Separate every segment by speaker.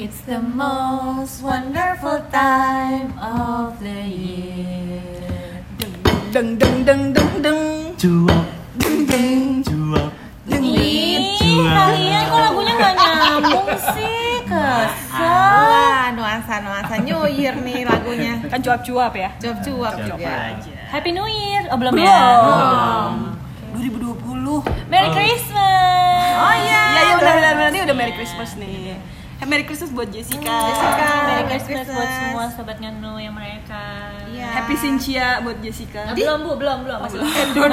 Speaker 1: It's the most wonderful time of the year.
Speaker 2: Deng deng deng deng deng.
Speaker 3: cuap cuap
Speaker 1: Ih, kalian Iya, kok lagunya nggak nyambung sih? Kesel.
Speaker 4: Wah, nuansa nuansa New Year nih lagunya.
Speaker 2: Kan cuap-cuap ya.
Speaker 4: Cuap-cuap juga.
Speaker 1: Happy New Year. Oh, belum ya?
Speaker 2: Belum. 2020.
Speaker 1: Merry Christmas. Ya,
Speaker 2: Oh iya. Iya, iya udah benar ini udah Merry Christmas nih. Eh, Merry Christmas buat Iya, Jessica.
Speaker 4: Jessica.
Speaker 1: Merry
Speaker 4: Merry
Speaker 1: Christmas buat
Speaker 4: Christmas.
Speaker 1: semua sobat nganu yang mereka.
Speaker 4: Iya.
Speaker 2: Happy Cynthia buat Jessica.
Speaker 1: Ah, belum bu, belum belum. Masih
Speaker 2: Edon.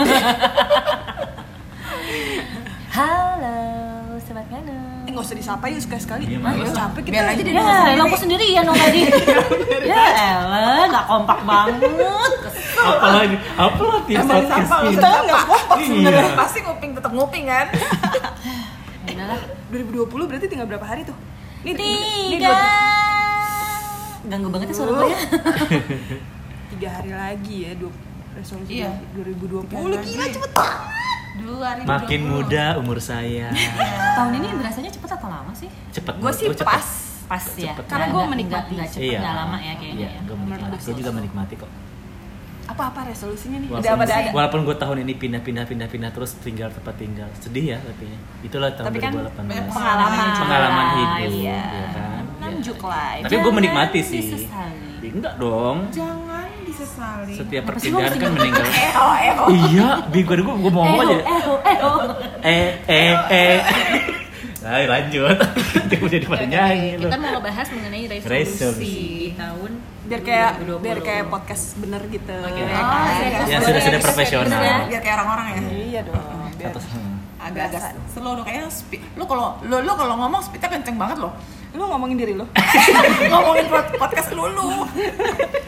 Speaker 1: Halo, sobat nganu.
Speaker 2: Eh, nggak usah disapa ya suka sekali.
Speaker 3: Iya,
Speaker 2: Ayo
Speaker 3: males.
Speaker 2: capek kita.
Speaker 4: Biar aja dia
Speaker 1: Ya, elah aku sendirian dong tadi. ya elah, gak kompak banget.
Speaker 3: apalagi apalagi
Speaker 2: Emang
Speaker 3: podcast
Speaker 2: disapa,
Speaker 3: ini
Speaker 2: kita kan nggak kompak sebenarnya.
Speaker 3: iya
Speaker 4: Pasti nguping tetap nguping kan?
Speaker 1: Udahlah.
Speaker 2: 2020 berarti tinggal berapa hari tuh? Ini ini
Speaker 1: Tiga.
Speaker 2: dua-
Speaker 1: Ganggu banget ya suara gue ya.
Speaker 2: tiga hari lagi ya dua resolusi
Speaker 4: Iya.
Speaker 2: 2020 gila cepet
Speaker 4: Dua ribu
Speaker 3: makin muda umur saya
Speaker 1: Tahun ini berasanya cepet atau lama sih?
Speaker 3: cepet
Speaker 4: Gue sih
Speaker 3: cepet.
Speaker 4: pas.
Speaker 1: Pas ya.
Speaker 3: Cepet.
Speaker 4: Karena gue
Speaker 1: Nggak-
Speaker 4: menikmati.
Speaker 1: Nggak nggak cepet, nggak lama ya kayaknya.
Speaker 3: iya
Speaker 1: ya.
Speaker 3: gue menikmati gue juga menikmati kok
Speaker 2: apa-apa resolusinya nih
Speaker 3: Walaupun,
Speaker 2: udah pada ada
Speaker 3: walaupun gue tahun ini pindah-pindah pindah-pindah terus tinggal tempat tinggal sedih ya tapi itulah tahun
Speaker 4: Tapi kan
Speaker 3: 2018
Speaker 4: pengalaman.
Speaker 3: pengalaman hidup
Speaker 1: Iya.
Speaker 3: ya kan
Speaker 4: Namjuk live.
Speaker 3: tapi gue
Speaker 1: Jangan
Speaker 3: menikmati sih
Speaker 1: disesali.
Speaker 3: enggak dong
Speaker 4: Jangan disesali.
Speaker 3: setiap
Speaker 1: Apa sih lu
Speaker 3: perpindahan kan
Speaker 1: mesti-
Speaker 3: meninggal
Speaker 4: Oh, eh, oh.
Speaker 3: iya bingung gue gue mau ngomong
Speaker 1: Eh,
Speaker 3: aja
Speaker 1: oh, eh, oh, eh, oh.
Speaker 3: eh eh eh Ayo lanjut kan Jangan jadi pada nyanyi lu
Speaker 1: Kita mau ngebahas mengenai resolusi
Speaker 3: Resolusi.
Speaker 1: di tahun
Speaker 2: biar kayak
Speaker 1: 2020.
Speaker 2: biar kayak podcast bener gitu
Speaker 1: Oh,
Speaker 2: Ya kan?
Speaker 1: serius.
Speaker 3: Yang sudah-sudah
Speaker 1: Serius,
Speaker 3: profesional.
Speaker 1: ya.
Speaker 4: Biar kayak orang-orang ya.
Speaker 2: iya dong biar
Speaker 3: Atas hmm.
Speaker 4: Agak-agak slow lu kayaknya speed. Lu kalau lu lu kalau ngomong speednya kenceng banget loh.
Speaker 2: lu ngomongin diri lu
Speaker 4: ngomongin pod- podcast lu lu.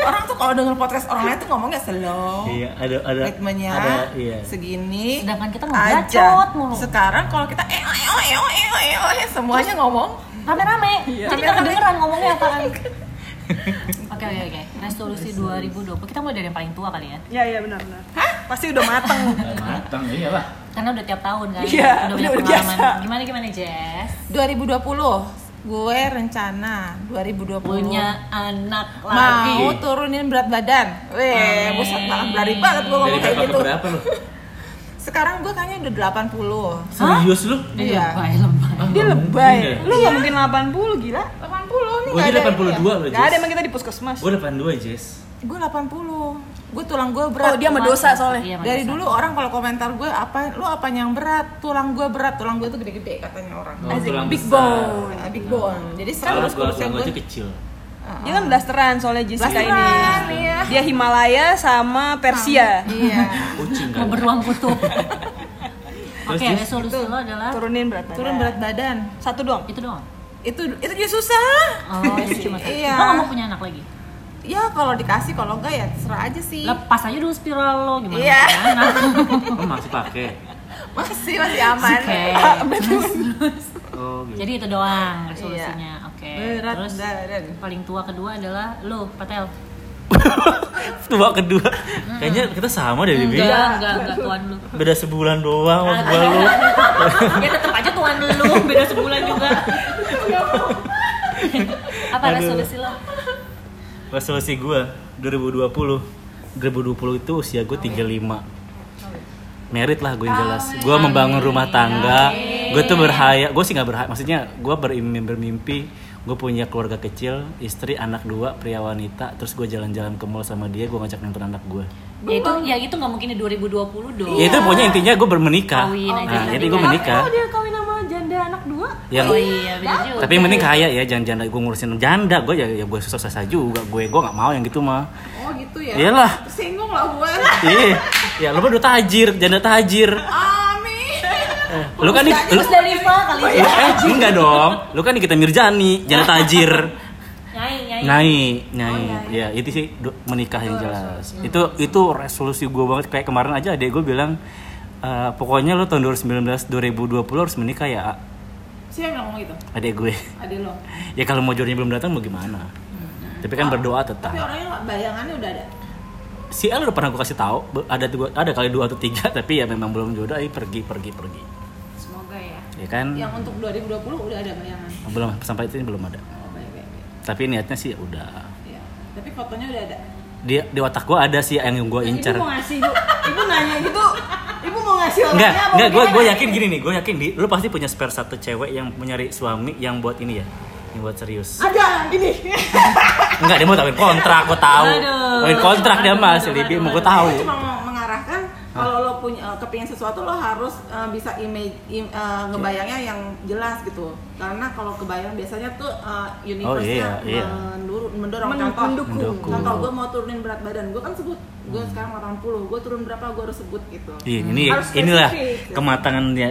Speaker 4: Orang tuh kalau denger podcast orang lain tuh ngomongnya slow.
Speaker 3: Iya ada ada
Speaker 4: ritmenya
Speaker 3: ada iya
Speaker 4: segini
Speaker 1: Sedangkan kita ngebacot
Speaker 4: aja
Speaker 1: mulu.
Speaker 4: sekarang kalau kita eo eo eo eo eo eo, semuanya ngomong
Speaker 1: rame-rame
Speaker 2: Iya.
Speaker 1: jadi nggak kedengeran ngomongnya apaan oke oke oke resolusi 2020 kita mulai dari yang paling tua kali ya
Speaker 2: ya ya benar benar pasti udah mateng
Speaker 3: Udah matang iya iyalah
Speaker 1: karena udah tiap tahun kan
Speaker 2: Iya,
Speaker 1: udah punya
Speaker 2: udah
Speaker 1: pengalaman
Speaker 2: biasa.
Speaker 1: gimana gimana Jess
Speaker 4: 2020 gue rencana 2020
Speaker 1: punya anak lagi
Speaker 4: mau turunin berat badan
Speaker 1: Amin.
Speaker 4: weh buset banget berani banget gue
Speaker 3: dari
Speaker 4: ngomong
Speaker 3: berapa
Speaker 4: kayak
Speaker 3: ke
Speaker 4: gitu
Speaker 3: berapa lu
Speaker 4: sekarang gue kayaknya udah 80
Speaker 3: serius lu
Speaker 1: Eh,
Speaker 4: Iya.
Speaker 1: lebay lebay
Speaker 3: Ah,
Speaker 2: dia
Speaker 3: nggak
Speaker 2: lebay
Speaker 3: mungkin deh.
Speaker 2: lu nggak mungkin 80 gila
Speaker 4: 80 nih
Speaker 3: Gua aja 82 loh
Speaker 2: nggak ada emang
Speaker 3: Jess
Speaker 2: kita di puskesmas
Speaker 3: Gue 82 Jess
Speaker 4: ya? gue 80 gue tulang gue berat
Speaker 2: Oh, dia sama dosa soalnya.
Speaker 1: Iya, sama
Speaker 4: dari
Speaker 1: dosa.
Speaker 4: dulu orang kalau komentar gue apa lu apa yang berat tulang gue berat tulang gue tuh gede-gede katanya orang
Speaker 3: Oh, tulang
Speaker 2: big
Speaker 3: besar.
Speaker 2: bone
Speaker 4: Nah, big bone jadi
Speaker 3: Kalau
Speaker 4: sekarang
Speaker 3: gue
Speaker 4: kurus
Speaker 3: tulang
Speaker 4: yang
Speaker 3: gue aja
Speaker 4: gue
Speaker 3: kecil
Speaker 2: dia kan blasteran soalnya Jessica
Speaker 4: Blasteran,
Speaker 2: ini
Speaker 4: iya.
Speaker 2: dia Himalaya sama Persia
Speaker 4: iya
Speaker 3: Kucing
Speaker 1: mau
Speaker 3: kan
Speaker 1: beruang kutub
Speaker 3: Terus,
Speaker 1: oke
Speaker 3: Jess?
Speaker 1: resolusi lo adalah
Speaker 2: turunin berat badan
Speaker 4: turun berat badan
Speaker 2: satu doang
Speaker 1: itu doang
Speaker 4: itu itu dia susah
Speaker 1: oh itu cuma satu
Speaker 4: Iya.
Speaker 1: lo nggak mau punya anak lagi
Speaker 4: ya kalau dikasih kalau enggak ya terserah aja sih
Speaker 1: lepas aja dulu spiral lo gimana
Speaker 4: Iya.
Speaker 1: punya anak
Speaker 3: Oh masih pakai
Speaker 4: masih masih aman
Speaker 1: oke
Speaker 3: Oh gitu
Speaker 1: Jadi itu doang resolusinya.
Speaker 5: Iya.
Speaker 1: Oke.
Speaker 4: berat
Speaker 1: Terus
Speaker 4: badan
Speaker 1: paling tua kedua adalah lo, Patel.
Speaker 3: Tua kedua Kayaknya kita sama deh Bibi
Speaker 1: Enggak, enggak, enggak tuan lu.
Speaker 3: Beda sebulan doang sama Iya. Oh, gua lu
Speaker 1: ya tetap aja tuan lu, beda sebulan juga. Apa
Speaker 3: Aduh.
Speaker 1: resolusi lo?
Speaker 3: Resolusi gue 2020 2020 itu usia gue 35 Merit lah gue yang jelas Gue membangun rumah tangga Gue tuh berhaya Gue sih gak berhaya Maksudnya gue bermimpi Gue punya keluarga kecil Istri, anak dua, pria wanita Terus gue jalan-jalan ke mall sama dia Gue ngajak nonton anak gue
Speaker 1: Ya itu ya itu nggak mungkin di 2020 dong.
Speaker 3: Ya itu pokoknya intinya gue bermenikah
Speaker 1: Kawin aja.
Speaker 3: Nah, Jadi gue menikah
Speaker 2: Oh, dia kawin sama janda anak dua
Speaker 3: yang
Speaker 1: Oh iya, bener juga.
Speaker 3: Ya. tapi yang penting kaya ya jangan janda gue ngurusin janda gue ya, ya gue susah susah juga gue gue nggak mau yang gitu mah
Speaker 4: oh gitu ya
Speaker 3: iyalah
Speaker 4: singgung lah gue
Speaker 3: Iya, ya lu mah udah tajir, janda tajir.
Speaker 4: amin
Speaker 3: Eh, Lu kan nih, lu,
Speaker 1: Terus dari Riva kali ini.
Speaker 3: eh enggak dong. Lu kan kita Mirjani, janda tajir.
Speaker 1: Nyai, nyai.
Speaker 3: Nyai,
Speaker 4: Oh,
Speaker 3: nyai. Ya, itu sih du- menikah yang jelas. Itu itu resolusi gue banget kayak kemarin aja adek gue bilang "Eh, pokoknya lu tahun 2019 2020 harus menikah ya, A."
Speaker 4: siapa yang ngomong gitu
Speaker 3: adek gue.
Speaker 4: ada lo Hmm. Oh,
Speaker 3: Ya kalau mau jodohnya belum datang mau gimana? Tapi kan berdoa tetap.
Speaker 4: tapi orangnya bayangannya udah ada
Speaker 3: Si El udah pernah gue kasih tahu, be- ada dua- ada kali dua atau tiga, tapi ya memang belum jodoh, ayo pergi pergi pergi.
Speaker 4: semoga ya
Speaker 3: Ya kan?
Speaker 4: yang untuk 2020 udah ada bayangan
Speaker 3: belum sampai itu belum ada
Speaker 4: oh,
Speaker 3: Tapi niatnya sih ya udah.
Speaker 5: Iya. Tapi fotonya udah ada.
Speaker 3: Dia di otak gue ada sih yang gue incer.
Speaker 5: Ibu mau ngasih, Ibu. Ibu nanya gitu. Ibu mau ngasih orangnya
Speaker 3: Enggak,
Speaker 5: apa
Speaker 3: enggak, gue
Speaker 5: bagaimana?
Speaker 3: gue yakin gini nih, gue yakin di, lu pasti punya spare satu cewek yang mau nyari suami yang buat ini ya, yang buat serius.
Speaker 5: Ada gini.
Speaker 3: Enggak, dia mau tawarin kontrak, gue tahu.
Speaker 1: Aduh.
Speaker 3: Tawarin kontrak dia
Speaker 1: Aduh,
Speaker 3: mah asli, dia mau gue tahu. ya?
Speaker 5: Saya cuma mau mengarahkan kalau lo punya eh, kepingin sesuatu lo harus eh, bisa image im- eh,
Speaker 3: Iya.
Speaker 5: ngebayangnya yang jelas gitu. Karena kalau kebayang biasanya tuh eh, universe-nya
Speaker 3: Oh, iya, iya.
Speaker 5: mendur- mendorong
Speaker 2: Men-
Speaker 5: contoh.
Speaker 2: mendukung.
Speaker 3: Mendukung. Hmm.
Speaker 5: Contoh gue mau turunin berat badan, gue kan sebut gue sekarang 80, gue turun berapa gue harus sebut gitu.
Speaker 3: Iya, ini
Speaker 5: Harus
Speaker 3: inilah
Speaker 5: spesifik. gitu. Iya.
Speaker 3: kematangan dia.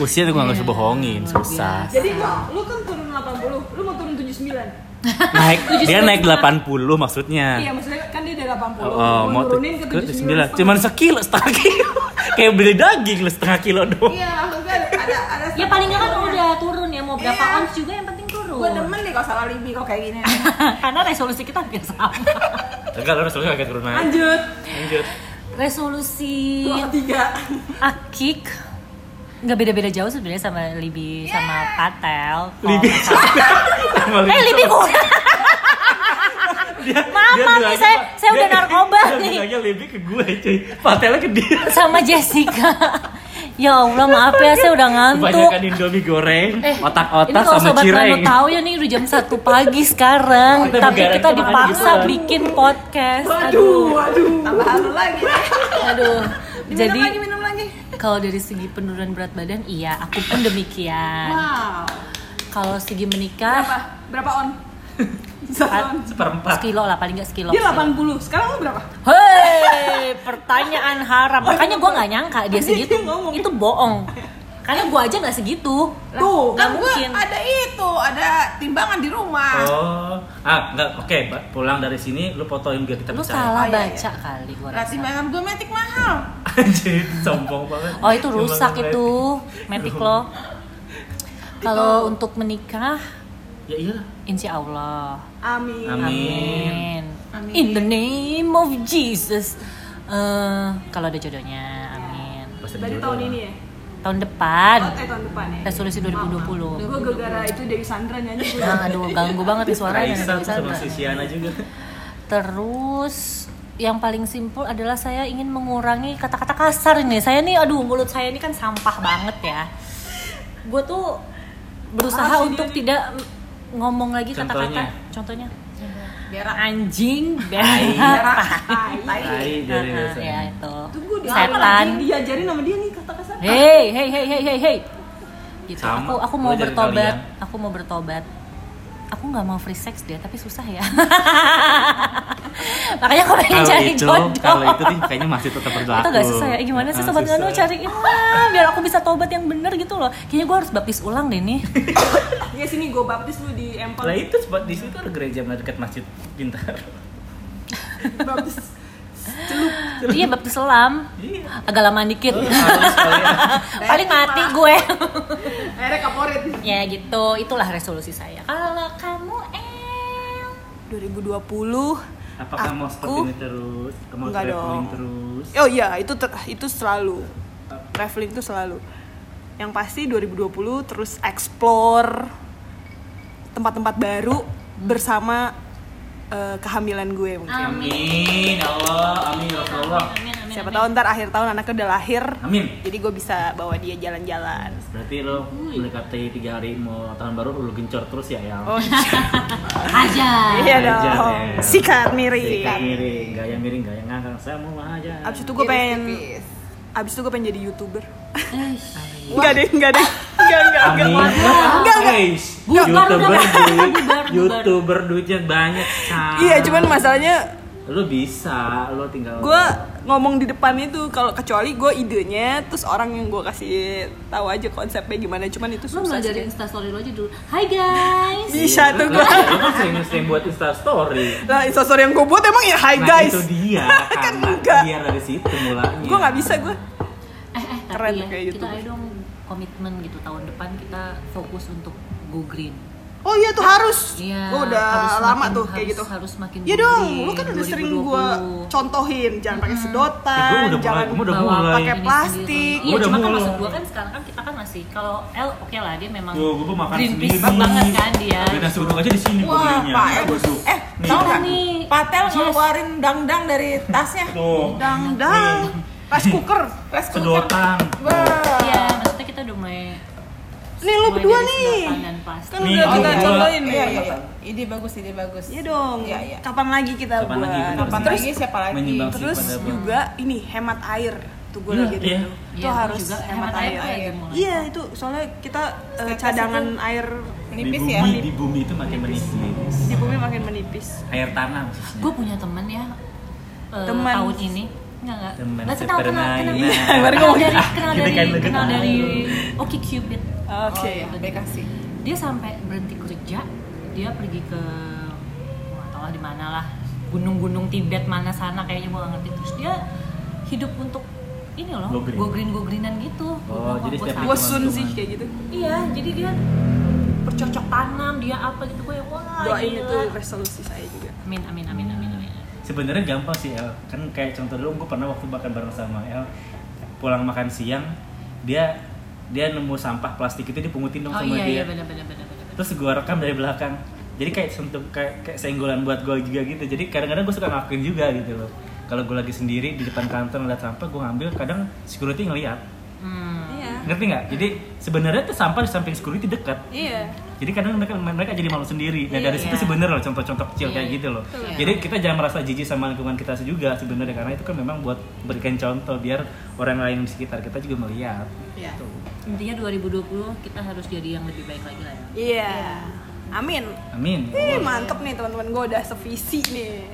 Speaker 3: Usia tuh gue nggak bisa bohongin, susah.
Speaker 2: Jadi lo, lo kan turun 80, lo mau turun 79
Speaker 3: Naik, dia naik 80 maksudnya.
Speaker 2: Iya maksudnya kan dia dari 80, lo
Speaker 3: Oh, mau
Speaker 2: nurunin ke
Speaker 3: ke
Speaker 2: 79
Speaker 3: 79. Cuman sekilo, setengah kilo. Kayak beli daging lah, setengah kilo doang.
Speaker 5: Iya, maksudnya ada ada
Speaker 1: Ya paling nggak kan udah turun ya mau berapa
Speaker 5: Iya.
Speaker 1: ons juga yang penting turun.
Speaker 5: gue demen nih kalau salah libi kok kayak gini.
Speaker 1: Karena resolusi kita hampir sama.
Speaker 3: Enggak, lu harus agak turun naik.
Speaker 5: Lanjut.
Speaker 3: Lanjut.
Speaker 1: Resolusi
Speaker 5: Dua tiga.
Speaker 1: akik nggak beda-beda jauh sebenarnya sama Libi sama Patel. Kalau
Speaker 3: Libi.
Speaker 1: misalnya- eh Libi gue. Mama
Speaker 3: bilangnya
Speaker 1: nih ya, saya
Speaker 3: Pak,
Speaker 1: saya
Speaker 3: dia-
Speaker 1: udah narkoba
Speaker 3: dia
Speaker 1: nih
Speaker 3: bilangnya lebih ke gue cuy patelnya ke dia
Speaker 1: sama Jessica. ya Allah maaf ya saya udah ngantuk.
Speaker 3: kebanyakan indomie goreng
Speaker 1: Eh, ini
Speaker 3: otak-otak
Speaker 1: kalau
Speaker 3: sama
Speaker 1: sobat Manu
Speaker 3: cireng
Speaker 1: tahu ya nih udah jam 1 pagi sekarang,
Speaker 3: Kita
Speaker 1: tapi
Speaker 3: begadang
Speaker 1: kita
Speaker 3: sama aja
Speaker 1: dipaksa
Speaker 3: gitu kan.
Speaker 1: bikin podcast.
Speaker 5: Aduh, aduh. Tambah halu lagi.
Speaker 1: aduh.
Speaker 5: Minum
Speaker 1: Jadi
Speaker 5: lagi, minum lagi.
Speaker 1: kalau dari segi penurunan berat badan, iya, aku pun demikian.
Speaker 5: Wow.
Speaker 1: Kalau segi menikah,
Speaker 2: Berapa? Berapa on?
Speaker 3: seperempat
Speaker 1: sekilo lah paling nggak sekilo.
Speaker 2: Dia 80, sekarang lo berapa?
Speaker 1: Hei, pertanyaan haram.
Speaker 5: Oh,
Speaker 1: Makanya gue nggak nyangka dia segitu. Itu bohong. Karena gue aja nggak segitu.
Speaker 5: Tuh,
Speaker 1: nggak
Speaker 5: kan gue
Speaker 1: mungkin.
Speaker 5: ada itu, ada timbangan di rumah.
Speaker 3: oh ah enggak oke Mbak. pulang dari sini lu fotoin biar kita
Speaker 1: Lu
Speaker 3: percaya
Speaker 1: salah
Speaker 5: Oh, iya, iya.
Speaker 1: baca kali gue
Speaker 5: Nah, timbangan gue metik mahal.
Speaker 3: anjir sombong banget
Speaker 1: Oh itu
Speaker 5: iya,
Speaker 3: Sombong
Speaker 1: rusak
Speaker 3: banget.
Speaker 1: itu, metik lo. Kalau untuk menikah,
Speaker 3: ya iya
Speaker 1: insya Allah.
Speaker 5: Amin.
Speaker 1: Amin.
Speaker 3: amin
Speaker 5: Amin.
Speaker 1: In the name of Jesus. Eh, kalau ada jodohnya, amin.
Speaker 3: Pasti
Speaker 2: Dari
Speaker 3: jodoh
Speaker 2: tahun
Speaker 3: lah.
Speaker 2: ini ya?
Speaker 1: Tahun
Speaker 2: Oh,
Speaker 1: depan,
Speaker 2: eh, tahun depan ya?
Speaker 1: resolusi 2020.
Speaker 2: Gue gara-gara itu Dewi Sandra nyanyi gue
Speaker 1: Nah, aduh, ganggu banget nih suaranya.
Speaker 3: Raisa
Speaker 1: dari
Speaker 3: tuh sama
Speaker 1: Sandra.
Speaker 3: Susiana juga
Speaker 1: Terus yang paling simpel adalah saya ingin mengurangi kata-kata kasar ini. Saya nih, aduh mulut saya ini kan sampah banget ya. Gue tuh berusaha untuk tidak ngomong lagi kata-kata. Contohnya,
Speaker 5: Berak.
Speaker 1: anjing,
Speaker 5: Berak.
Speaker 1: berak,
Speaker 5: Tai.
Speaker 3: tai dari
Speaker 1: Nah, ya
Speaker 3: biasanya
Speaker 1: itu.
Speaker 2: Tunggu dia apa
Speaker 1: Setan.
Speaker 2: lagi diajarin sama dia nih kata kasar
Speaker 1: Hei, hei, hei, hei, hei, hei. Gitu.
Speaker 3: Sama,
Speaker 1: Aku aku mau
Speaker 3: gua dari
Speaker 1: bertobat.
Speaker 3: kalian.
Speaker 1: Aku mau bertobat. Aku nggak mau free sex dia, tapi susah ya. Makanya aku pengen
Speaker 3: kalau
Speaker 1: cari
Speaker 3: itu
Speaker 1: jodoh.
Speaker 3: kalau itu nih kayaknya masih tetap berlaku
Speaker 1: Atau gak susah ya? Eh, Gimana sih
Speaker 3: Ah,
Speaker 1: sobat Nganu
Speaker 3: susah.
Speaker 1: cariin lah biar aku bisa tobat yang bener gitu loh. Kayaknya gue harus baptis ulang deh nih.
Speaker 2: Ya sini gue baptis lu di empon
Speaker 3: Lah itu sebab di situ ada gereja dekat Masjid Bintaro.
Speaker 2: Baptis
Speaker 1: iya baptis selam.
Speaker 3: Iya.
Speaker 1: Agak lamaan dikit.
Speaker 3: Oh, harus kalian.
Speaker 1: Paling mati gue.
Speaker 5: Akhirnya kaporit.
Speaker 1: ya gitu, itulah resolusi saya. Kalau kamu El
Speaker 2: 2020
Speaker 3: Apakah mau seperti ini terus? Mau
Speaker 2: Enggak
Speaker 3: traveling
Speaker 2: dong.
Speaker 3: terus?
Speaker 2: Oh iya, itu ter- itu selalu. Traveling itu selalu. Yang pasti 2020 terus explore tempat-tempat baru bersama eh, kehamilan gue mungkin.
Speaker 3: Amin, ya Allah, amin ya Rasulullah.
Speaker 2: Siapa tahu ntar akhir tahun anaknya udah lahir.
Speaker 3: Amin.
Speaker 2: Jadi gue bisa bawa dia jalan-jalan.
Speaker 3: Berarti lo mendekati tiga hari mau tahun baru lo gencar terus ya ya.
Speaker 2: Oh,
Speaker 1: aja.
Speaker 2: iya
Speaker 3: Aja,
Speaker 2: dong.
Speaker 3: ya.
Speaker 2: Sikat miring.
Speaker 3: Sikat miring, gaya miring, gaya ngangkang semua aja.
Speaker 2: Abis itu
Speaker 4: Iya,
Speaker 2: gue pengen abis itu gue pengen jadi youtuber.
Speaker 1: Eish.
Speaker 2: Enggak deh, enggak deh. Enggak, enggak, enggak.
Speaker 3: Amin.
Speaker 2: Enggak, enggak.
Speaker 3: Guys,
Speaker 1: Bubar,
Speaker 3: youtuber
Speaker 1: udah.
Speaker 3: duit,
Speaker 1: Bubar, bubar.
Speaker 3: youtuber duitnya banyak. Sam.
Speaker 2: Iya, cuman masalahnya
Speaker 3: lo bisa, lo tinggal
Speaker 2: gue ngomong di depan itu kalau kecuali gue idenya terus orang yang gue kasih tahu aja konsepnya gimana cuman itu
Speaker 1: Lu
Speaker 2: susah
Speaker 1: mulai
Speaker 2: sih. Iya.
Speaker 1: dari instastory lo aja dulu. Hai guys.
Speaker 2: bisa tuh
Speaker 3: Lo
Speaker 2: gue
Speaker 3: kan sering-sering buat Insta story.
Speaker 2: lah instastory yang gue buat emang ya hi
Speaker 3: nah,
Speaker 2: guys
Speaker 3: itu dia
Speaker 2: Kan
Speaker 3: karena
Speaker 2: enggak.
Speaker 3: biar dari situ mulanya
Speaker 2: gue nggak bisa gue
Speaker 1: Eh, eh, tapi
Speaker 2: Keren
Speaker 1: ya,
Speaker 2: kayak gitu.
Speaker 1: kita
Speaker 2: YouTuber.
Speaker 1: ayo dong komitmen gitu tahun depan kita fokus untuk go green.
Speaker 2: oh iya tuh harus
Speaker 1: Iya,
Speaker 2: Gua udah
Speaker 1: harus
Speaker 2: lama
Speaker 1: makin-
Speaker 2: tuh kayak
Speaker 1: harus-
Speaker 2: gitu
Speaker 1: harus makin
Speaker 2: ya dong
Speaker 1: gede,
Speaker 2: lu kan udah sering gue
Speaker 1: 2020.
Speaker 2: contohin jangan pakai
Speaker 3: Eh,
Speaker 2: sedotan
Speaker 3: gua udah mulai-
Speaker 2: jangan
Speaker 3: gua udah
Speaker 1: bawa
Speaker 3: mulai.
Speaker 2: pakai
Speaker 1: ini
Speaker 2: plastik
Speaker 1: sendiri. Iya,
Speaker 3: Udah
Speaker 1: cuma kan
Speaker 3: mulai.
Speaker 1: maksud gue kan sekarang kan kita kan masih kalau L oke lah dia memang
Speaker 3: Tuh, gue makan
Speaker 1: Greenpeace
Speaker 3: sendiri.
Speaker 1: banget kan dia.
Speaker 3: Beda nasi uduk aja di sini gue
Speaker 4: Wah,
Speaker 3: belinya. ya,
Speaker 4: Pak.
Speaker 3: Gua tuh.
Speaker 4: Eh,
Speaker 3: Nih.
Speaker 4: tau nggak?
Speaker 1: Nih.
Speaker 4: Patel
Speaker 1: Yes.
Speaker 4: ngeluarin dang-dang dari tasnya.
Speaker 3: Tuh.
Speaker 2: dang dang rice cooker
Speaker 4: Rice cooker.
Speaker 3: Sedotan.
Speaker 4: Wah.
Speaker 1: Iya, maksudnya kita udah mulai
Speaker 2: nih lu
Speaker 1: mulai
Speaker 2: berdua
Speaker 1: dari
Speaker 2: nih
Speaker 1: sedotan dan plastik.
Speaker 2: kan
Speaker 3: Nih,
Speaker 2: udah
Speaker 3: lu
Speaker 2: kita
Speaker 3: berdua.
Speaker 2: contohin
Speaker 4: Iya,
Speaker 2: nih
Speaker 4: iya, iya. Ide bagus, ide bagus.
Speaker 2: Iya dong.
Speaker 4: Iya, iya.
Speaker 2: Kapan lagi kita
Speaker 3: Kapan
Speaker 2: buat?
Speaker 3: lagi, bener.
Speaker 4: Kapan
Speaker 2: terus
Speaker 4: lagi siapa lagi?
Speaker 3: Menyumbang
Speaker 2: terus
Speaker 3: Kapan lagi?
Speaker 2: juga ini hemat air. Tuh gue
Speaker 3: Iya,
Speaker 2: lagi
Speaker 3: iya.
Speaker 2: dulu. Itu
Speaker 1: Iya, gua
Speaker 2: harus
Speaker 1: juga
Speaker 2: hemat
Speaker 1: hemat air
Speaker 2: air.
Speaker 1: lagi mulai.
Speaker 2: Iya itu soalnya kita eh,
Speaker 4: Tetes
Speaker 2: cadangan
Speaker 4: itu.
Speaker 2: air
Speaker 4: Nipis
Speaker 3: di bumi,
Speaker 4: ya.
Speaker 3: Di bumi itu makin menipis.
Speaker 2: di bumi makin menipis.
Speaker 3: Air tanah khususnya.
Speaker 1: Gue punya temen ya eh,
Speaker 2: Teman.
Speaker 1: tahun ini Enggak, enggak.
Speaker 3: Teman
Speaker 1: Nggak sih, tahu, kenal,
Speaker 3: sepermainan.
Speaker 1: kenal.
Speaker 3: Iya,
Speaker 2: baru
Speaker 1: Kenal
Speaker 2: ngomong.
Speaker 1: dari, kenal
Speaker 3: Kita
Speaker 1: dari,
Speaker 3: kan deket.
Speaker 1: kenal dari Oke Cupid.
Speaker 2: Oke.
Speaker 1: iya.
Speaker 4: Bekasi.
Speaker 1: Dia sampai berhenti kerja, dia pergi ke nggak tahu lah di mana lah, gunung-gunung Tibet mana sana kayaknya gue nggak ngerti. Terus dia hidup untuk ini loh,
Speaker 3: Go green.
Speaker 1: go green go greenan gitu. Gua
Speaker 3: Oh,
Speaker 1: bilang,
Speaker 3: jadi
Speaker 1: "Wah,
Speaker 3: setiap
Speaker 1: gua
Speaker 3: hari
Speaker 1: sama."
Speaker 2: Bosun sih kayak gitu.
Speaker 1: Iya, jadi dia bercocok tanam, dia apa gitu gue yang wah.
Speaker 2: Doain
Speaker 1: gila."
Speaker 2: itu resolusi saya juga.
Speaker 1: Amin amin amin amin amin.
Speaker 3: Sebenarnya gampang sih El. Kan kayak contoh dulu gue pernah waktu makan bareng sama El. Pulang makan siang, dia dia nemu sampah plastik itu dipungutin dong
Speaker 1: Oh
Speaker 3: sama
Speaker 1: iya
Speaker 3: dia.
Speaker 1: iya benar benar benar benar.
Speaker 3: Terus gue rekam dari belakang. Jadi kayak sentuh kayak, kayak senggolan buat gue juga gitu. Jadi kadang-kadang gue suka ngelakuin juga gitu loh. Kalau gue lagi sendiri di depan kantor ngeliat sampah, gue ngambil kadang security ngeliat.
Speaker 1: Hmm.
Speaker 2: Iya.
Speaker 3: Ngerti nggak? Jadi sebenarnya tuh sampah di samping security dekat.
Speaker 2: Iya.
Speaker 3: Jadi kadang mereka mereka jadi malu sendiri. Nah dari situ
Speaker 1: Iya.
Speaker 3: sebenarnya loh contoh-contoh kecil
Speaker 1: Iya,
Speaker 3: kayak
Speaker 1: iya.
Speaker 3: gitu loh.
Speaker 1: Betul.
Speaker 3: Jadi kita jangan merasa jijik sama lingkungan kita juga sebenarnya karena itu kan memang buat berikan contoh biar orang lain di sekitar kita juga melihat.
Speaker 2: Iya.
Speaker 3: Tuh.
Speaker 1: Intinya 2020 kita harus jadi yang lebih baik lagi lah ya.
Speaker 2: Iya. Amin.
Speaker 3: Amin.
Speaker 2: Ih,
Speaker 1: Iya,
Speaker 3: Ya Allah.
Speaker 2: mantep nih teman-teman gue udah sevisi nih.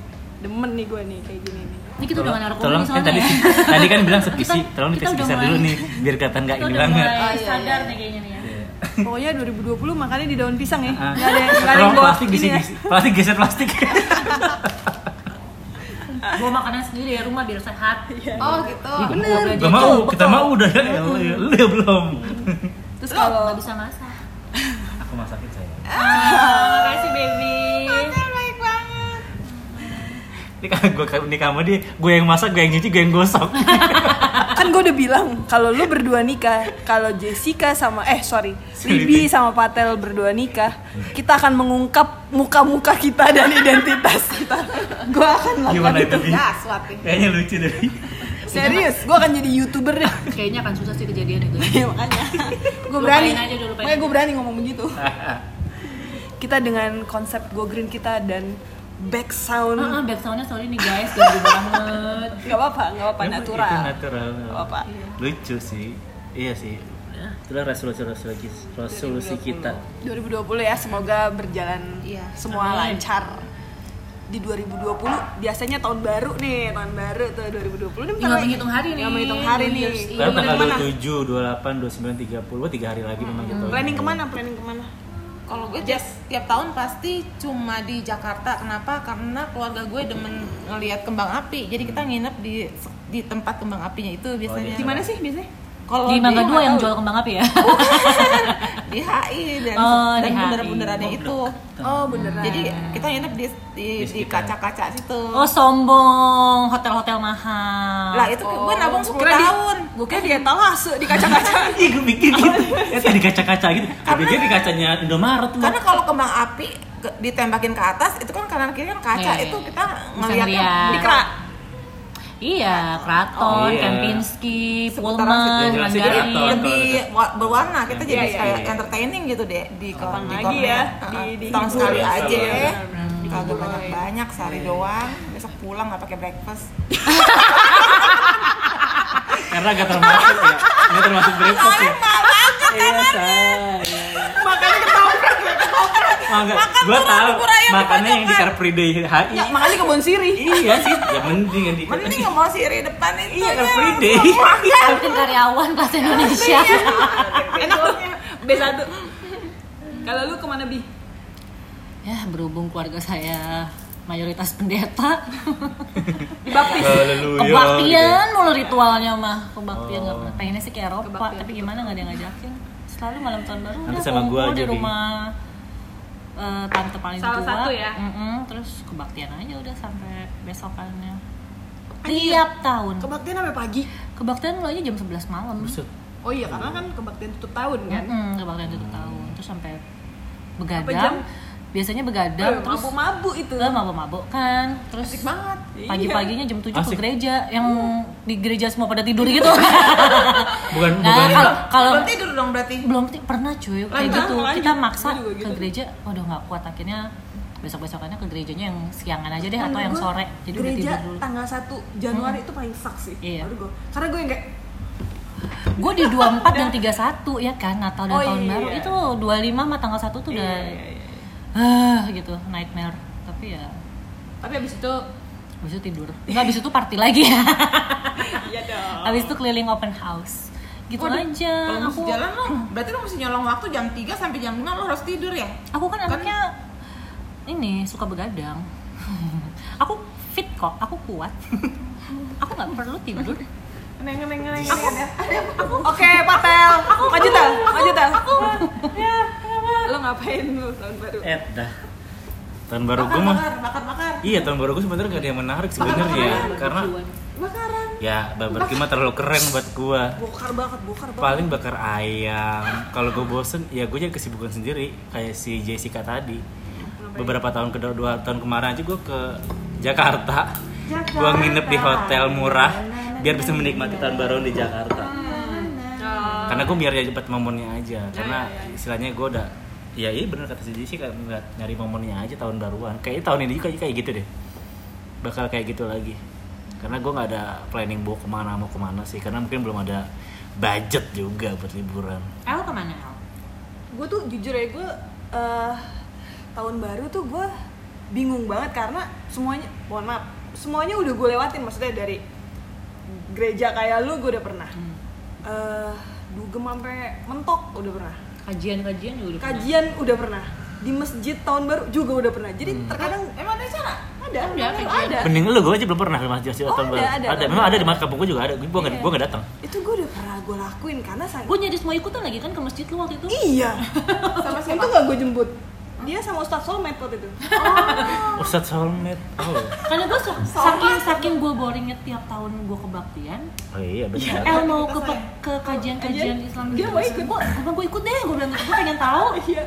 Speaker 2: Demen nih gue nih kayak gini nih.
Speaker 1: Ini kita udah gak naruh komedi
Speaker 3: tolong kan
Speaker 1: soalnya
Speaker 3: tadi
Speaker 1: ya.
Speaker 3: tadi kan bilang
Speaker 1: Kita-
Speaker 3: sepisi, tolong
Speaker 1: kita udah
Speaker 3: dipisah-pisah
Speaker 1: mulai-
Speaker 3: dulu nih biar kelihatan nggak
Speaker 1: Kita
Speaker 3: ini
Speaker 1: udah
Speaker 3: banget.
Speaker 1: mulai
Speaker 2: iya,
Speaker 1: sadar
Speaker 2: iya.
Speaker 1: nih kayaknya nih ya.
Speaker 3: Iya.
Speaker 2: Pokoknya 2020 makannya di daun pisang ya.
Speaker 3: Ah.
Speaker 2: Gak ada gak ada
Speaker 3: Tolong
Speaker 2: yang bawa
Speaker 3: plastik di
Speaker 2: ini
Speaker 3: sini,
Speaker 2: ya.
Speaker 3: plastik geser plastik.
Speaker 1: Ah, Gua makanan sendiri dari rumah biar sehat.
Speaker 2: Iya.
Speaker 4: Oh, gitu.
Speaker 2: Bener.
Speaker 3: Gak mau, kita mau udah ya, ya, lu ya, lu ya belum.
Speaker 2: Terus
Speaker 1: Kalau
Speaker 2: kalau
Speaker 1: nggak bisa masak. Ah,
Speaker 3: Aku masakin saya.
Speaker 2: Ah.
Speaker 1: Makasih baby.
Speaker 3: Ini kan gue ini kamu dia, gue yang masak, gue yang nyuci, gue yang gosok.
Speaker 2: kan gue udah bilang kalau lu berdua nikah, kalau Jessica sama eh sorry, Libby sama Patel berdua nikah, kita akan mengungkap muka-muka kita dan identitas kita. Gue akan lakukan
Speaker 3: Gimana itu?
Speaker 2: itu.
Speaker 3: Bi? Kayaknya lucu deh. Bi.
Speaker 2: Serius, gue akan jadi youtuber deh.
Speaker 1: Kayaknya akan susah sih kejadian itu.
Speaker 2: Ya, makanya gue
Speaker 1: Lupain
Speaker 2: berani,
Speaker 1: aja dulu, lupain
Speaker 2: makanya gue
Speaker 1: aja.
Speaker 2: berani ngomong begitu. kita dengan konsep go green kita dan back sound,
Speaker 1: Ah, ah, backsoundnya sorry nih guys, ganggu banget.
Speaker 2: nggak apa-apa, nggak apa-apa
Speaker 3: Itu-
Speaker 2: natural.
Speaker 3: Itu gitu? Iya, natural. ya.
Speaker 2: Nggak apa-apa.
Speaker 3: Lucu sih. Iya sih.
Speaker 2: Ya.
Speaker 3: Itulah resolusi resolusi resolusi kita.
Speaker 2: 2020 ya semoga berjalan
Speaker 4: Iya.
Speaker 2: semua
Speaker 1: Amin.
Speaker 2: lancar di 2020 biasanya tahun baru nih tahun baru tuh 2020 ini bentar
Speaker 1: Tinggal
Speaker 2: lagi.
Speaker 1: menghitung hari nih,
Speaker 2: Tinggal menghitung hari
Speaker 1: New
Speaker 2: nih
Speaker 1: Year's Eve.
Speaker 3: Lalu
Speaker 1: Iya,
Speaker 3: tanggal
Speaker 2: Planning
Speaker 3: 27, 28, 29, 30, tiga hari lagi memang gitu. kita.
Speaker 2: planning kemana planning kemana
Speaker 4: Kalau gue tiap- tiap tahun pasti cuma di Jakarta. Kenapa? Karena keluarga gue demen ngelihat kembang api. Jadi kita nginep di di tempat kembang apinya itu biasanya.
Speaker 2: di mana sih biasanya
Speaker 4: Kalau
Speaker 1: Di
Speaker 2: Iya,
Speaker 1: Mangga Dua yang
Speaker 4: tahu.
Speaker 1: jual kembang api ya.
Speaker 2: Oh.
Speaker 4: di HI dan
Speaker 1: Oh,
Speaker 4: dan
Speaker 1: di HI.
Speaker 4: bundar-bundarannya itu.
Speaker 2: oh beneran
Speaker 4: Jadi kita nginep di di, di
Speaker 3: sekitar.
Speaker 4: kaca-kaca situ.
Speaker 1: Oh sombong, hotel-hotel mahal.
Speaker 4: lah itu gue nabung 10
Speaker 2: kira di-
Speaker 4: tahun.
Speaker 2: Oh. gue kira di etalase di kaca-kaca
Speaker 3: Ih, gue pikir gitu. Eh, tadi kaca-kaca gitu. Gue pikir di
Speaker 2: kan-
Speaker 3: kacanya Indomaret lu.
Speaker 4: Karena kalau kembang api ke- ditembakin ke atas itu kan kanan kiri kan kaca
Speaker 1: Iya, iya.
Speaker 4: itu kita
Speaker 1: Bisa
Speaker 4: ngelihatnya
Speaker 1: ngeliat.
Speaker 4: di kerak.
Speaker 1: Iya, Kraton,
Speaker 3: Oh, iya.
Speaker 1: Kempinski, Pullman,
Speaker 3: situ. Yang jelas sih
Speaker 1: Mandarin.
Speaker 3: Kraton.
Speaker 4: lebih wa- berwarna kita jadi
Speaker 3: iya,
Speaker 4: kayak
Speaker 3: iya.
Speaker 4: entertaining gitu deh di
Speaker 2: Kapan
Speaker 4: di ya,
Speaker 2: lagi
Speaker 4: kornet.
Speaker 2: ya,
Speaker 4: Heeh,
Speaker 2: di- di-
Speaker 4: setahun
Speaker 2: di-
Speaker 4: sekali
Speaker 3: Benar,
Speaker 4: aja
Speaker 3: benar,
Speaker 4: kagak banyak banyak sehari doang besok pulang nggak pakai breakfast
Speaker 3: Karena gak termasuk ya. Gak termasuk breakfast ya.
Speaker 2: kan,
Speaker 3: Iya, say.
Speaker 2: makanya ketoprak
Speaker 3: Mangga. Gue tahu. Makannya yang di Car Free Day HI.
Speaker 2: ya, makanya kebon sirih
Speaker 3: Iya sih. Ya mending yang di
Speaker 4: mending nggak mau siri depan itu
Speaker 3: Iya,
Speaker 4: ya.
Speaker 3: Car Free Day.
Speaker 1: Mungkin karyawan kelas Indonesia.
Speaker 2: Iya. enak tuh B1 kalau lu kemana bi
Speaker 1: ya, berhubung keluarga saya mayoritas pendeta.
Speaker 2: dibaptis
Speaker 3: Haleluya. Iya. Oh.
Speaker 1: Kebaktian mulu ritualnya mah. Kebaktian nggak pernah. Pengennya sih ke Eropa, tapi gimana nggak ada yang ngajakin. Selalu malam tahun baru
Speaker 3: Nanti
Speaker 1: udah
Speaker 3: sama gua
Speaker 1: kumpul
Speaker 3: aja,
Speaker 1: di
Speaker 3: Bi.
Speaker 1: rumah eh, tante paling
Speaker 6: Salah
Speaker 1: tua.
Speaker 6: satu ya?
Speaker 1: Mm-mm, terus kebaktian aja udah sampai besokannya. Tiap tahun.
Speaker 2: Kebaktian sampai pagi.
Speaker 1: Kebaktian mulainya jam 11 malam.
Speaker 3: Buset.
Speaker 2: Oh iya, karena kan kebaktian tutup tahun kan.
Speaker 1: Mm-mm, kebaktian
Speaker 3: Hmm.
Speaker 1: tutup tahun. Terus sampai
Speaker 2: jam?
Speaker 1: begadang. Biasanya begadang
Speaker 2: Eh,
Speaker 1: terus
Speaker 2: Mabuk-mabuk itu.
Speaker 1: Lah mabok-mabok kan Terus
Speaker 2: Asik banget.
Speaker 1: Pagi-paginya jam 7 ke
Speaker 3: Asik.
Speaker 1: gereja Yang di gereja semua pada tidur gitu
Speaker 3: Bukan
Speaker 1: Nah
Speaker 3: bukan
Speaker 1: kalau- kalau
Speaker 4: Belum tidur dong berarti.
Speaker 1: belum ti- pernah cuy kayak
Speaker 2: Lanjut,
Speaker 1: gitu
Speaker 2: lanjut.
Speaker 1: kita maksa
Speaker 2: Gua juga
Speaker 1: ke
Speaker 2: gitu.
Speaker 1: gereja waduh nggak kuat akhirnya besok besokannya ke gerejanya yang siangan aja deh Iya, atau yang sore jadi udah
Speaker 2: gereja
Speaker 1: tidur dulu Hmm.
Speaker 2: tanggal 1 Januari itu paling sak sih.
Speaker 1: Iya.
Speaker 2: Baru gua- Karena gue yang kayak
Speaker 1: gue di 24 dan 31 ya kan Natal dan
Speaker 2: Oh,
Speaker 1: tahun
Speaker 2: iya.
Speaker 1: baru itu 25 sama tanggal 1 tuh udah
Speaker 2: iya.
Speaker 1: ah gitu nightmare tapi ya
Speaker 6: Tapi abis itu
Speaker 1: habis itu tidur nggak habis itu party lagi ya
Speaker 2: iya dong.
Speaker 1: habis itu keliling open house gitu aja
Speaker 4: Kalau
Speaker 1: aku
Speaker 4: mesti jalan lo, berarti lo mesti nyolong waktu jam 3 sampai jam 5 lo harus tidur ya?
Speaker 1: aku kan anaknya ini suka begadang aku fit kok aku kuat aku nggak perlu tidur
Speaker 2: Oke, Patel. lanjut Tel. Lanjut Tel.
Speaker 4: Iya,
Speaker 2: Lo ngapain lu tahun baru?
Speaker 3: Eh, dah. Tahun baru gue mah Iya tahun baru gue sebenarnya gak ada yang menarik sebenarnya karena ya barbecue mah terlalu keren buat gue.
Speaker 2: Bokar banget, bokar banget.
Speaker 3: Paling bakar ayam. Kalau gue bosen ya gue jadi kesibukan sendiri kayak si Jessica tadi. Beberapa tahun ke dua tahun kemarin aja gue ke Jakarta. Gue nginep di hotel murah
Speaker 2: Nah,
Speaker 3: biar bisa menikmati tahun baru di Jakarta.
Speaker 2: Hmm.
Speaker 3: Karena gue biar ya cepat momennya aja.
Speaker 2: Iya,
Speaker 3: Karena istilahnya gue udah ya iya bener kata si Jessica nggak nyari momennya aja tahun baruan. Kayaknya tahun ini juga kayak gitu deh bakal kayak gitu lagi karena gue nggak ada planning mau kemana mau kemana sih karena mungkin belum ada budget juga buat liburan
Speaker 1: El kemana El?
Speaker 2: gue tuh jujur ya gue eh, tahun baru tuh gue bingung banget karena semuanya mohon maaf semuanya udah gue lewatin maksudnya dari gereja kayak lu gue udah pernah
Speaker 1: Hmm.
Speaker 2: Eh, dugem sampai mentok udah pernah
Speaker 1: kajian-kajian juga udah pernah.
Speaker 2: kajian udah pernah di masjid tahun baru juga udah pernah jadi terkadang
Speaker 4: Emang ada cara?
Speaker 2: ada ada, ada.
Speaker 3: mending lu gue aja belum pernah mas Jasi
Speaker 2: Iya. Oh,
Speaker 3: tahun
Speaker 2: ada,
Speaker 3: baru
Speaker 2: ada,
Speaker 3: ada
Speaker 2: ada. Iya.
Speaker 3: memang ada di mas kampung gue juga ada gue nggak gue nggak datang
Speaker 2: itu gue udah pernah gue lakuin karena saya
Speaker 1: gue nyaris mau ikutan lagi kan ke masjid lu waktu itu
Speaker 2: iya sama siapa tuh gak gue jemput dia sama Ustadz Solmed waktu itu
Speaker 3: Ustadz Solmed oh,
Speaker 1: karena gue saking saking gue boringnya tiap tahun gue kebaktian
Speaker 3: oh iya benar
Speaker 1: El mau ke pe- ke kajian-kajian Islam gitu.
Speaker 2: Dia mau ikut.
Speaker 1: gue gue ikut deh gue bilang gitu. gue pengen tahu
Speaker 2: iya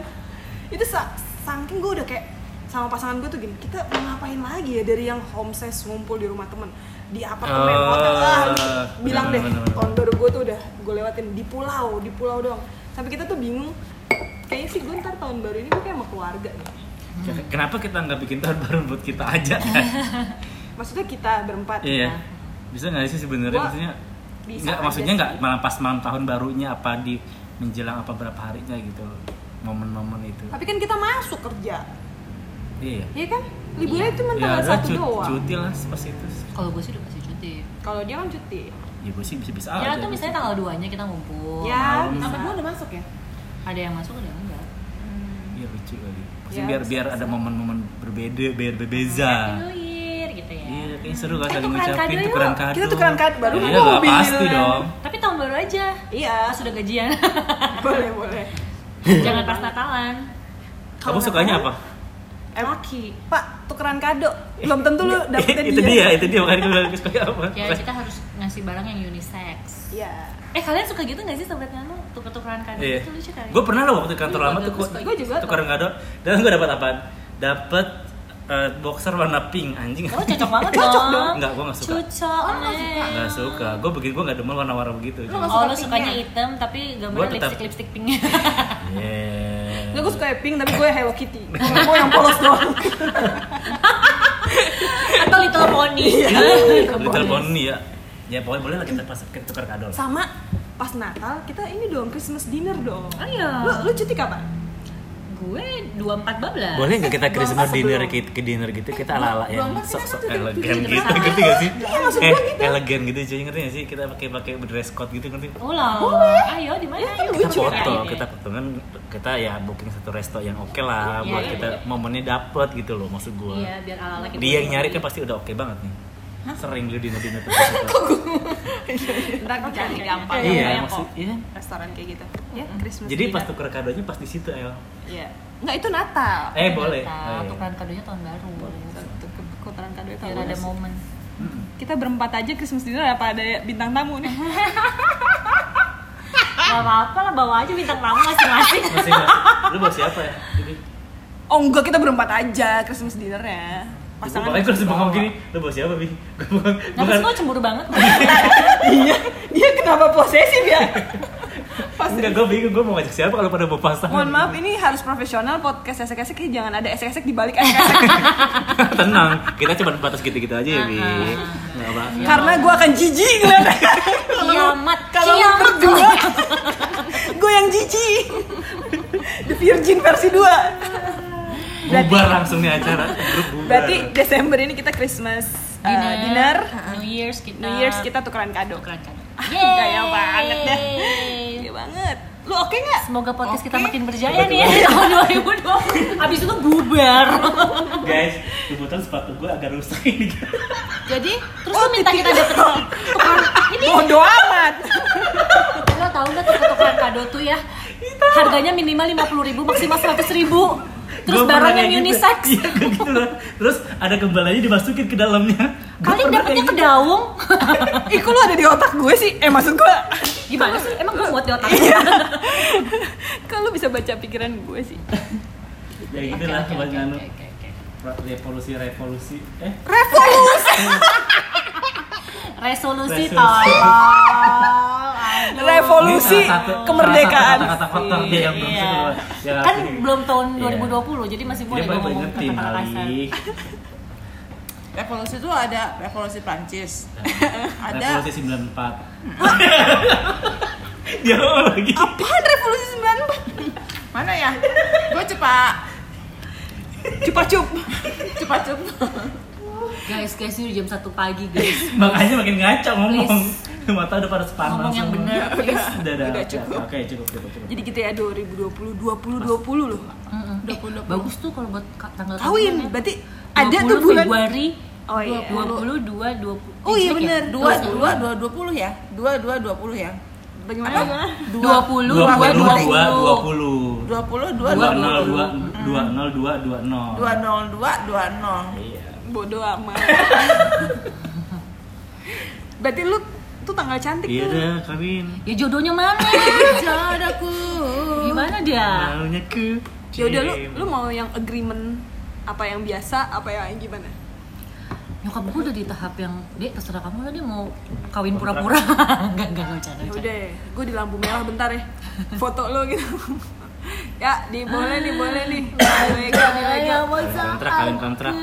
Speaker 2: itu sa- saking gue udah kayak sama pasangan gue tuh gini kita mau ngapain lagi ya dari yang homestay ngumpul di rumah temen di apartemen
Speaker 3: Oh,
Speaker 2: hotel lah
Speaker 3: bener,
Speaker 2: bilang deh
Speaker 3: bener, bener.
Speaker 2: tahun baru gue tuh udah gue lewatin di pulau di pulau doang sampai kita tuh bingung kayaknya sih gue ntar tahun baru ini gue kayak sama keluarga nih
Speaker 3: kenapa kita nggak bikin tahun baru buat kita aja kan
Speaker 2: maksudnya kita berempat
Speaker 3: iya bisa nggak sih sebenarnya
Speaker 2: Gua-
Speaker 3: maksudnya
Speaker 2: Bisa
Speaker 3: nggak
Speaker 2: aja
Speaker 3: maksudnya
Speaker 2: sih.
Speaker 3: nggak malam pas malam tahun barunya apa di menjelang apa berapa harinya gitu momen-momen itu
Speaker 2: tapi kan kita masuk kerja
Speaker 3: iya
Speaker 2: iya kan liburnya itu cuma
Speaker 3: ya
Speaker 2: tanggal
Speaker 3: udah
Speaker 2: satu
Speaker 3: cu-
Speaker 2: doang
Speaker 3: cuti lah pas itu
Speaker 1: kalau gue sih udah kasih cuti
Speaker 2: kalau dia kan cuti
Speaker 3: ya gue sih bisa-bisa aja
Speaker 1: ya tuh misalnya tanggal 2 nya kita ngumpul
Speaker 2: ya
Speaker 3: malam.
Speaker 2: bisa.
Speaker 4: Apa dua udah masuk ya?
Speaker 1: ada yang masuk ada yang enggak
Speaker 3: Iya lucu kali Pasti
Speaker 2: Ya,
Speaker 3: biar biar ada momen-momen berbeda biar berbeza
Speaker 1: Luir gitu ya
Speaker 3: Ah. iya kayaknya seru kan
Speaker 1: Eh,
Speaker 3: saling
Speaker 1: tukeran kado
Speaker 3: ngucapin
Speaker 1: yuk.
Speaker 3: tukeran kado
Speaker 2: Kita tukeran kado, baru
Speaker 3: iya
Speaker 2: mau
Speaker 3: lah
Speaker 2: mobil.
Speaker 3: pasti dong
Speaker 1: tapi tahun baru aja
Speaker 2: iya
Speaker 1: pas sudah gajian
Speaker 2: boleh boleh
Speaker 1: jangan pas natalan
Speaker 3: kamu sukanya apa
Speaker 2: Eh, Laki. Pak, tukeran kado. Belum tentu lu dapetin
Speaker 3: Iya, itu dia itu dia makanya gue bilang gue suka apa
Speaker 1: ya kita harus ngasih barang yang unisex
Speaker 2: Iya.
Speaker 1: eh kalian suka gitu nggak sih sobat nganu tuker-tukeran kado
Speaker 3: iya
Speaker 1: itu lucu kali
Speaker 3: gue pernah loh waktu di kantor
Speaker 1: Lu
Speaker 3: lama
Speaker 1: juga
Speaker 3: tuh
Speaker 1: suka
Speaker 2: Gua juga
Speaker 3: tukeran kado dan gue dapat apaan dapat eh, boxer warna pink anjing
Speaker 1: oh cocok banget
Speaker 2: Cocok dong.
Speaker 1: dong
Speaker 3: Enggak, gua nggak suka. Oh,
Speaker 1: cocok Neng.
Speaker 3: nggak suka gue begitu gue nggak demen warna-warna begitu
Speaker 4: Lu nggak
Speaker 1: oh lu
Speaker 4: Suka
Speaker 1: sukanya
Speaker 4: pinknya.
Speaker 1: hitam tapi
Speaker 3: Gua
Speaker 1: gambarnya
Speaker 3: tetap-
Speaker 1: lipstick lipstick pinknya
Speaker 3: Yeah.
Speaker 2: Nggak, gue suka pink tapi gue Hello Kitty. Gue yang polos doang.
Speaker 1: atau little pony
Speaker 3: Iya. Little Bonnie ya. Ya pokoknya boleh lah kita pas kita tukar kado lah.
Speaker 2: Sama pas Natal kita ini dong Christmas dinner dong.
Speaker 3: Oh,
Speaker 1: Ayo.
Speaker 3: iya.
Speaker 2: Lu, lu cuti kapan?
Speaker 1: gue dua empat bablas
Speaker 3: Boleh nggak kita Christmas
Speaker 2: Sebelum-
Speaker 3: dinner ki- ke dinner gitu kita ala ala yang
Speaker 4: belum, kan
Speaker 3: sok
Speaker 4: kita
Speaker 3: sok
Speaker 4: kan udah
Speaker 3: elegan
Speaker 1: bikin
Speaker 3: gitu
Speaker 1: dinner
Speaker 3: ngerti gak sih?
Speaker 2: Iya, maksud
Speaker 3: eh,
Speaker 2: gua gitu.
Speaker 3: elegan gitu cuy ngerti gak sih kita pakai pakai dress code gitu ngerti?
Speaker 1: ulang ayo di mana Iya, ayo Ayo,
Speaker 3: Kita Iya, kan foto,
Speaker 1: ayo.
Speaker 3: kita foto kan kita ya booking satu resto yang oke lah
Speaker 1: Iya,
Speaker 3: buat
Speaker 1: iya,
Speaker 3: kita momennya dapet gitu loh maksud gua.
Speaker 1: iya biar ala ala kita
Speaker 3: Dia yang nyari kan pasti udah oke banget nih. Sering dulu dinner dinner terus.
Speaker 2: Ntar gue cari gampang.
Speaker 3: Iya maksud iya.
Speaker 2: Restoran kayak gitu. ya Christmas
Speaker 3: Jadi
Speaker 2: dinner.
Speaker 3: pas tuker kadonya pas di situ El.
Speaker 2: Iya. Nggak itu Natal.
Speaker 3: Eh boleh.
Speaker 1: Nah,
Speaker 3: Eh.
Speaker 1: tukeran kadonya tahun baru boleh.
Speaker 2: Satu ke- Kotoran kado itu
Speaker 1: Biar ada momen.
Speaker 2: Kita berempat aja Christmas dinner apa ada bintang tamu nih?
Speaker 1: Gak apa-apa lah bawa aja bintang tamu masing-masing. Nah,
Speaker 3: Masih nggak? Lu bawa siapa ya? Jadi, Mm-hmm.
Speaker 2: Oh enggak kita berempat aja Christmas dinnernya.
Speaker 3: Pasangan gue harus bengong eh, gini. Lu bawa siapa bi? Gue bengong.
Speaker 1: Nah, terus
Speaker 3: Bukan.
Speaker 1: gue cemburu banget.
Speaker 2: Iya. Dia kenapa posesif ya? Pas
Speaker 3: Enggak, gue bingung. Gue mau ngajak siapa kalau pada bawa pasangan.
Speaker 2: Mohon maaf ini harus profesional podcast esek-esek ini jangan ada esek-esek di balik esek-esek
Speaker 3: Tenang. Kita cuma batas gitu-gitu aja ya bi. Nggak apa.
Speaker 2: karena gue akan jijik ngeliat
Speaker 1: Kiamat,
Speaker 2: kalau lu
Speaker 1: kiamat.
Speaker 2: berdua gue yang jijik The Virgin versi 2
Speaker 3: Bubar langsung nih acara. Grup bubar.
Speaker 2: berarti Desember ini kita Christmas uh, dinner,
Speaker 1: New Year's kita.
Speaker 2: New Year's kita tukeran kado
Speaker 1: tukeran kado.
Speaker 2: Yeay. Gaya banget dah Gaya banget lu oke nggak
Speaker 1: Semoga podcast kita makin berjaya nih ya di tahun 2020. Abis itu bubar.
Speaker 3: Guys, kebetulan sepatu gue agak rusak ini.
Speaker 1: Jadi terus
Speaker 2: oh,
Speaker 1: lu minta kita dapet tukeran ini
Speaker 2: bodo amat
Speaker 1: lo tau nggak tuh tukeran kado tuh ya harganya minimal 50.000 ribu maksimal 100.000 ribu terus
Speaker 3: Gua pernah
Speaker 1: barang yang
Speaker 3: kayak gitu.
Speaker 1: unisex
Speaker 3: Iya, gua gitu lah. Terus ada kembaliannya dimasukin ke dalamnya.
Speaker 1: kali dapetnya
Speaker 2: gitu.
Speaker 1: ke daung
Speaker 2: Ih, kok lu ada di otak gue sih? Eh, maksud gue,
Speaker 1: gimana sih emang gue muat di otak
Speaker 2: Iya. kok lu bisa baca pikiran gue sih?
Speaker 3: Ya gitu lah kebanyakan. Revolusi revolusi. Eh,
Speaker 1: resolusi
Speaker 3: Resolusi.
Speaker 4: Oh,
Speaker 1: tolol
Speaker 3: Ini
Speaker 2: Revolusi
Speaker 3: salah satu-
Speaker 2: kemerdekaan.
Speaker 3: salah satu kata-kata kotor dia yang belum
Speaker 1: Iya.
Speaker 3: keluar. Yang
Speaker 1: kan
Speaker 3: asli.
Speaker 1: belum tahun
Speaker 3: Ya, Iya.
Speaker 1: 2020 jadi masih
Speaker 3: dia
Speaker 1: boleh
Speaker 3: paling
Speaker 1: gua ngomong
Speaker 3: ngingetin
Speaker 1: kata-kata kasar
Speaker 3: kali
Speaker 4: Revolusi itu ada revolusi Prancis. ada
Speaker 3: revolusi 94 dia ngomong lagi
Speaker 2: Apaan revolusi 94?
Speaker 4: mana ya? Gue cepat
Speaker 2: Cupa-cup.
Speaker 4: cepat cepat.
Speaker 1: guys guys ini udah jam 1 pagi guys
Speaker 3: makanya makin ngaco ngomong mata udah pada sepanas
Speaker 1: ngomong yang
Speaker 3: semua.
Speaker 1: bener please
Speaker 3: udah udah,
Speaker 2: Udah
Speaker 3: udah
Speaker 2: cukup.
Speaker 3: oke cukup cukup cukup
Speaker 2: Jadi kita ya 2020, 2020 loh.
Speaker 1: Mm-mm. Eh, bagus tuh kalau buat ka- tanggal
Speaker 2: Kawin,
Speaker 1: kawinnya.
Speaker 2: berarti ada tuh
Speaker 1: 20
Speaker 2: bulan.
Speaker 1: Februari
Speaker 2: Oh iya.
Speaker 1: 20 2 20
Speaker 2: Oh iya,
Speaker 1: Dicek ya?
Speaker 2: bener.
Speaker 4: Dua dua dua dua puluh ya. Dua dua dua puluh ya.
Speaker 2: Bagaimana? gimana?
Speaker 1: 20 20 20
Speaker 4: Dua puluh dua
Speaker 3: dua
Speaker 4: dua
Speaker 3: nol dua dua
Speaker 4: dua
Speaker 3: nol dua dua nol
Speaker 4: dua nol dua dua nol.
Speaker 3: iya
Speaker 2: Bodoh amat. Berarti lu tuh tanggal cantik
Speaker 3: iya
Speaker 2: tuh.
Speaker 3: dah kawin
Speaker 1: Ya jodohnya mana?
Speaker 4: Jodohku.
Speaker 1: Gimana dia?
Speaker 3: maunya ku
Speaker 2: Ya udah lu lu mau yang agreement apa yang biasa, apa yang gimana?
Speaker 1: Nyokap gue udah di tahap yang Dek terserah kamu lah dia mau kawin pura-pura Enggak, enggak, enggak bercanda,
Speaker 2: Ya
Speaker 1: bercanda.
Speaker 2: udah, gue di lampu merah bentar ya. Foto lu gitu. ya, di boleh nih, boleh nih. Mega, mega.
Speaker 3: kontrak kawin kontrak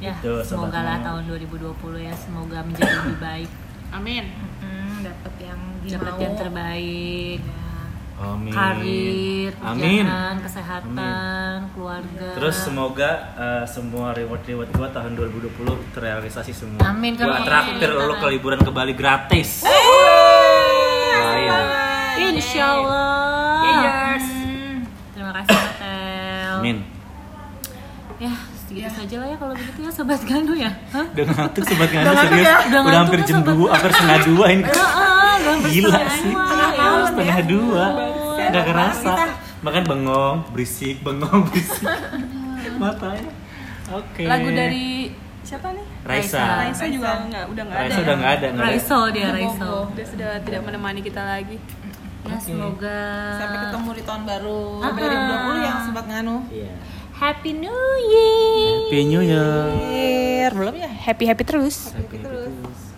Speaker 1: Ya,
Speaker 3: Itu, sobat
Speaker 1: semoga lah
Speaker 3: mau.
Speaker 1: tahun 2020 ya Semoga menjadi lebih baik
Speaker 2: Amin. Hmm,
Speaker 4: Dapat yang
Speaker 1: Dapat yang terbaik
Speaker 3: amin
Speaker 1: Karir,
Speaker 3: amin
Speaker 1: pekerjaan, kesehatan, keluarga
Speaker 3: Terus semoga uh, semua reward-reward gua tahun 2020 terrealisasi semua.
Speaker 1: Amin,
Speaker 3: Gua
Speaker 1: amin.
Speaker 3: traktir lu ke liburan ke Bali gratis. iya. Lain.
Speaker 1: Insya Allah
Speaker 2: Yeayers.
Speaker 1: Terima kasih Hotel
Speaker 3: Amin.
Speaker 1: Ya, segitu saja lah ya kalau begitu ya Sobat Ganu ya Hah?
Speaker 3: Udah ngantuk sobat ngantuk
Speaker 1: ngantuk
Speaker 3: serius.
Speaker 1: ya? Udah
Speaker 3: Udah,
Speaker 1: ngantuk
Speaker 3: hampir
Speaker 1: ya,
Speaker 3: jam
Speaker 1: sobat.
Speaker 3: 2, hampir setengah 2 ini.
Speaker 1: Heeh, gambar
Speaker 3: Gila
Speaker 1: setengah
Speaker 3: sih.
Speaker 1: dua. ya.
Speaker 3: Setengah setengah 2. Udah
Speaker 4: Bangsa.
Speaker 3: kerasa.
Speaker 4: Kita.
Speaker 3: Makan bengong, berisik, bengong, berisik. Matanya. Oke.
Speaker 2: Lagu dari siapa nih?
Speaker 3: Raisa.
Speaker 2: Raisa juga nggak udah nggak ada.
Speaker 3: Raisa
Speaker 2: ya?
Speaker 3: udah nggak ada, nggak ada.
Speaker 1: Raiso dia
Speaker 2: Udah
Speaker 1: Raiso.
Speaker 2: bobo, Dia sudah tidak menemani kita lagi.
Speaker 1: Ya semoga
Speaker 4: Sampai ketemu di tahun baru
Speaker 2: Ah.
Speaker 1: Aha.
Speaker 4: 2020 yang sempat nganu.
Speaker 3: Iya.
Speaker 1: Happy New Year.
Speaker 3: Happy New Year.
Speaker 4: Belum ya? Happy happy terus.
Speaker 3: Happy New Year.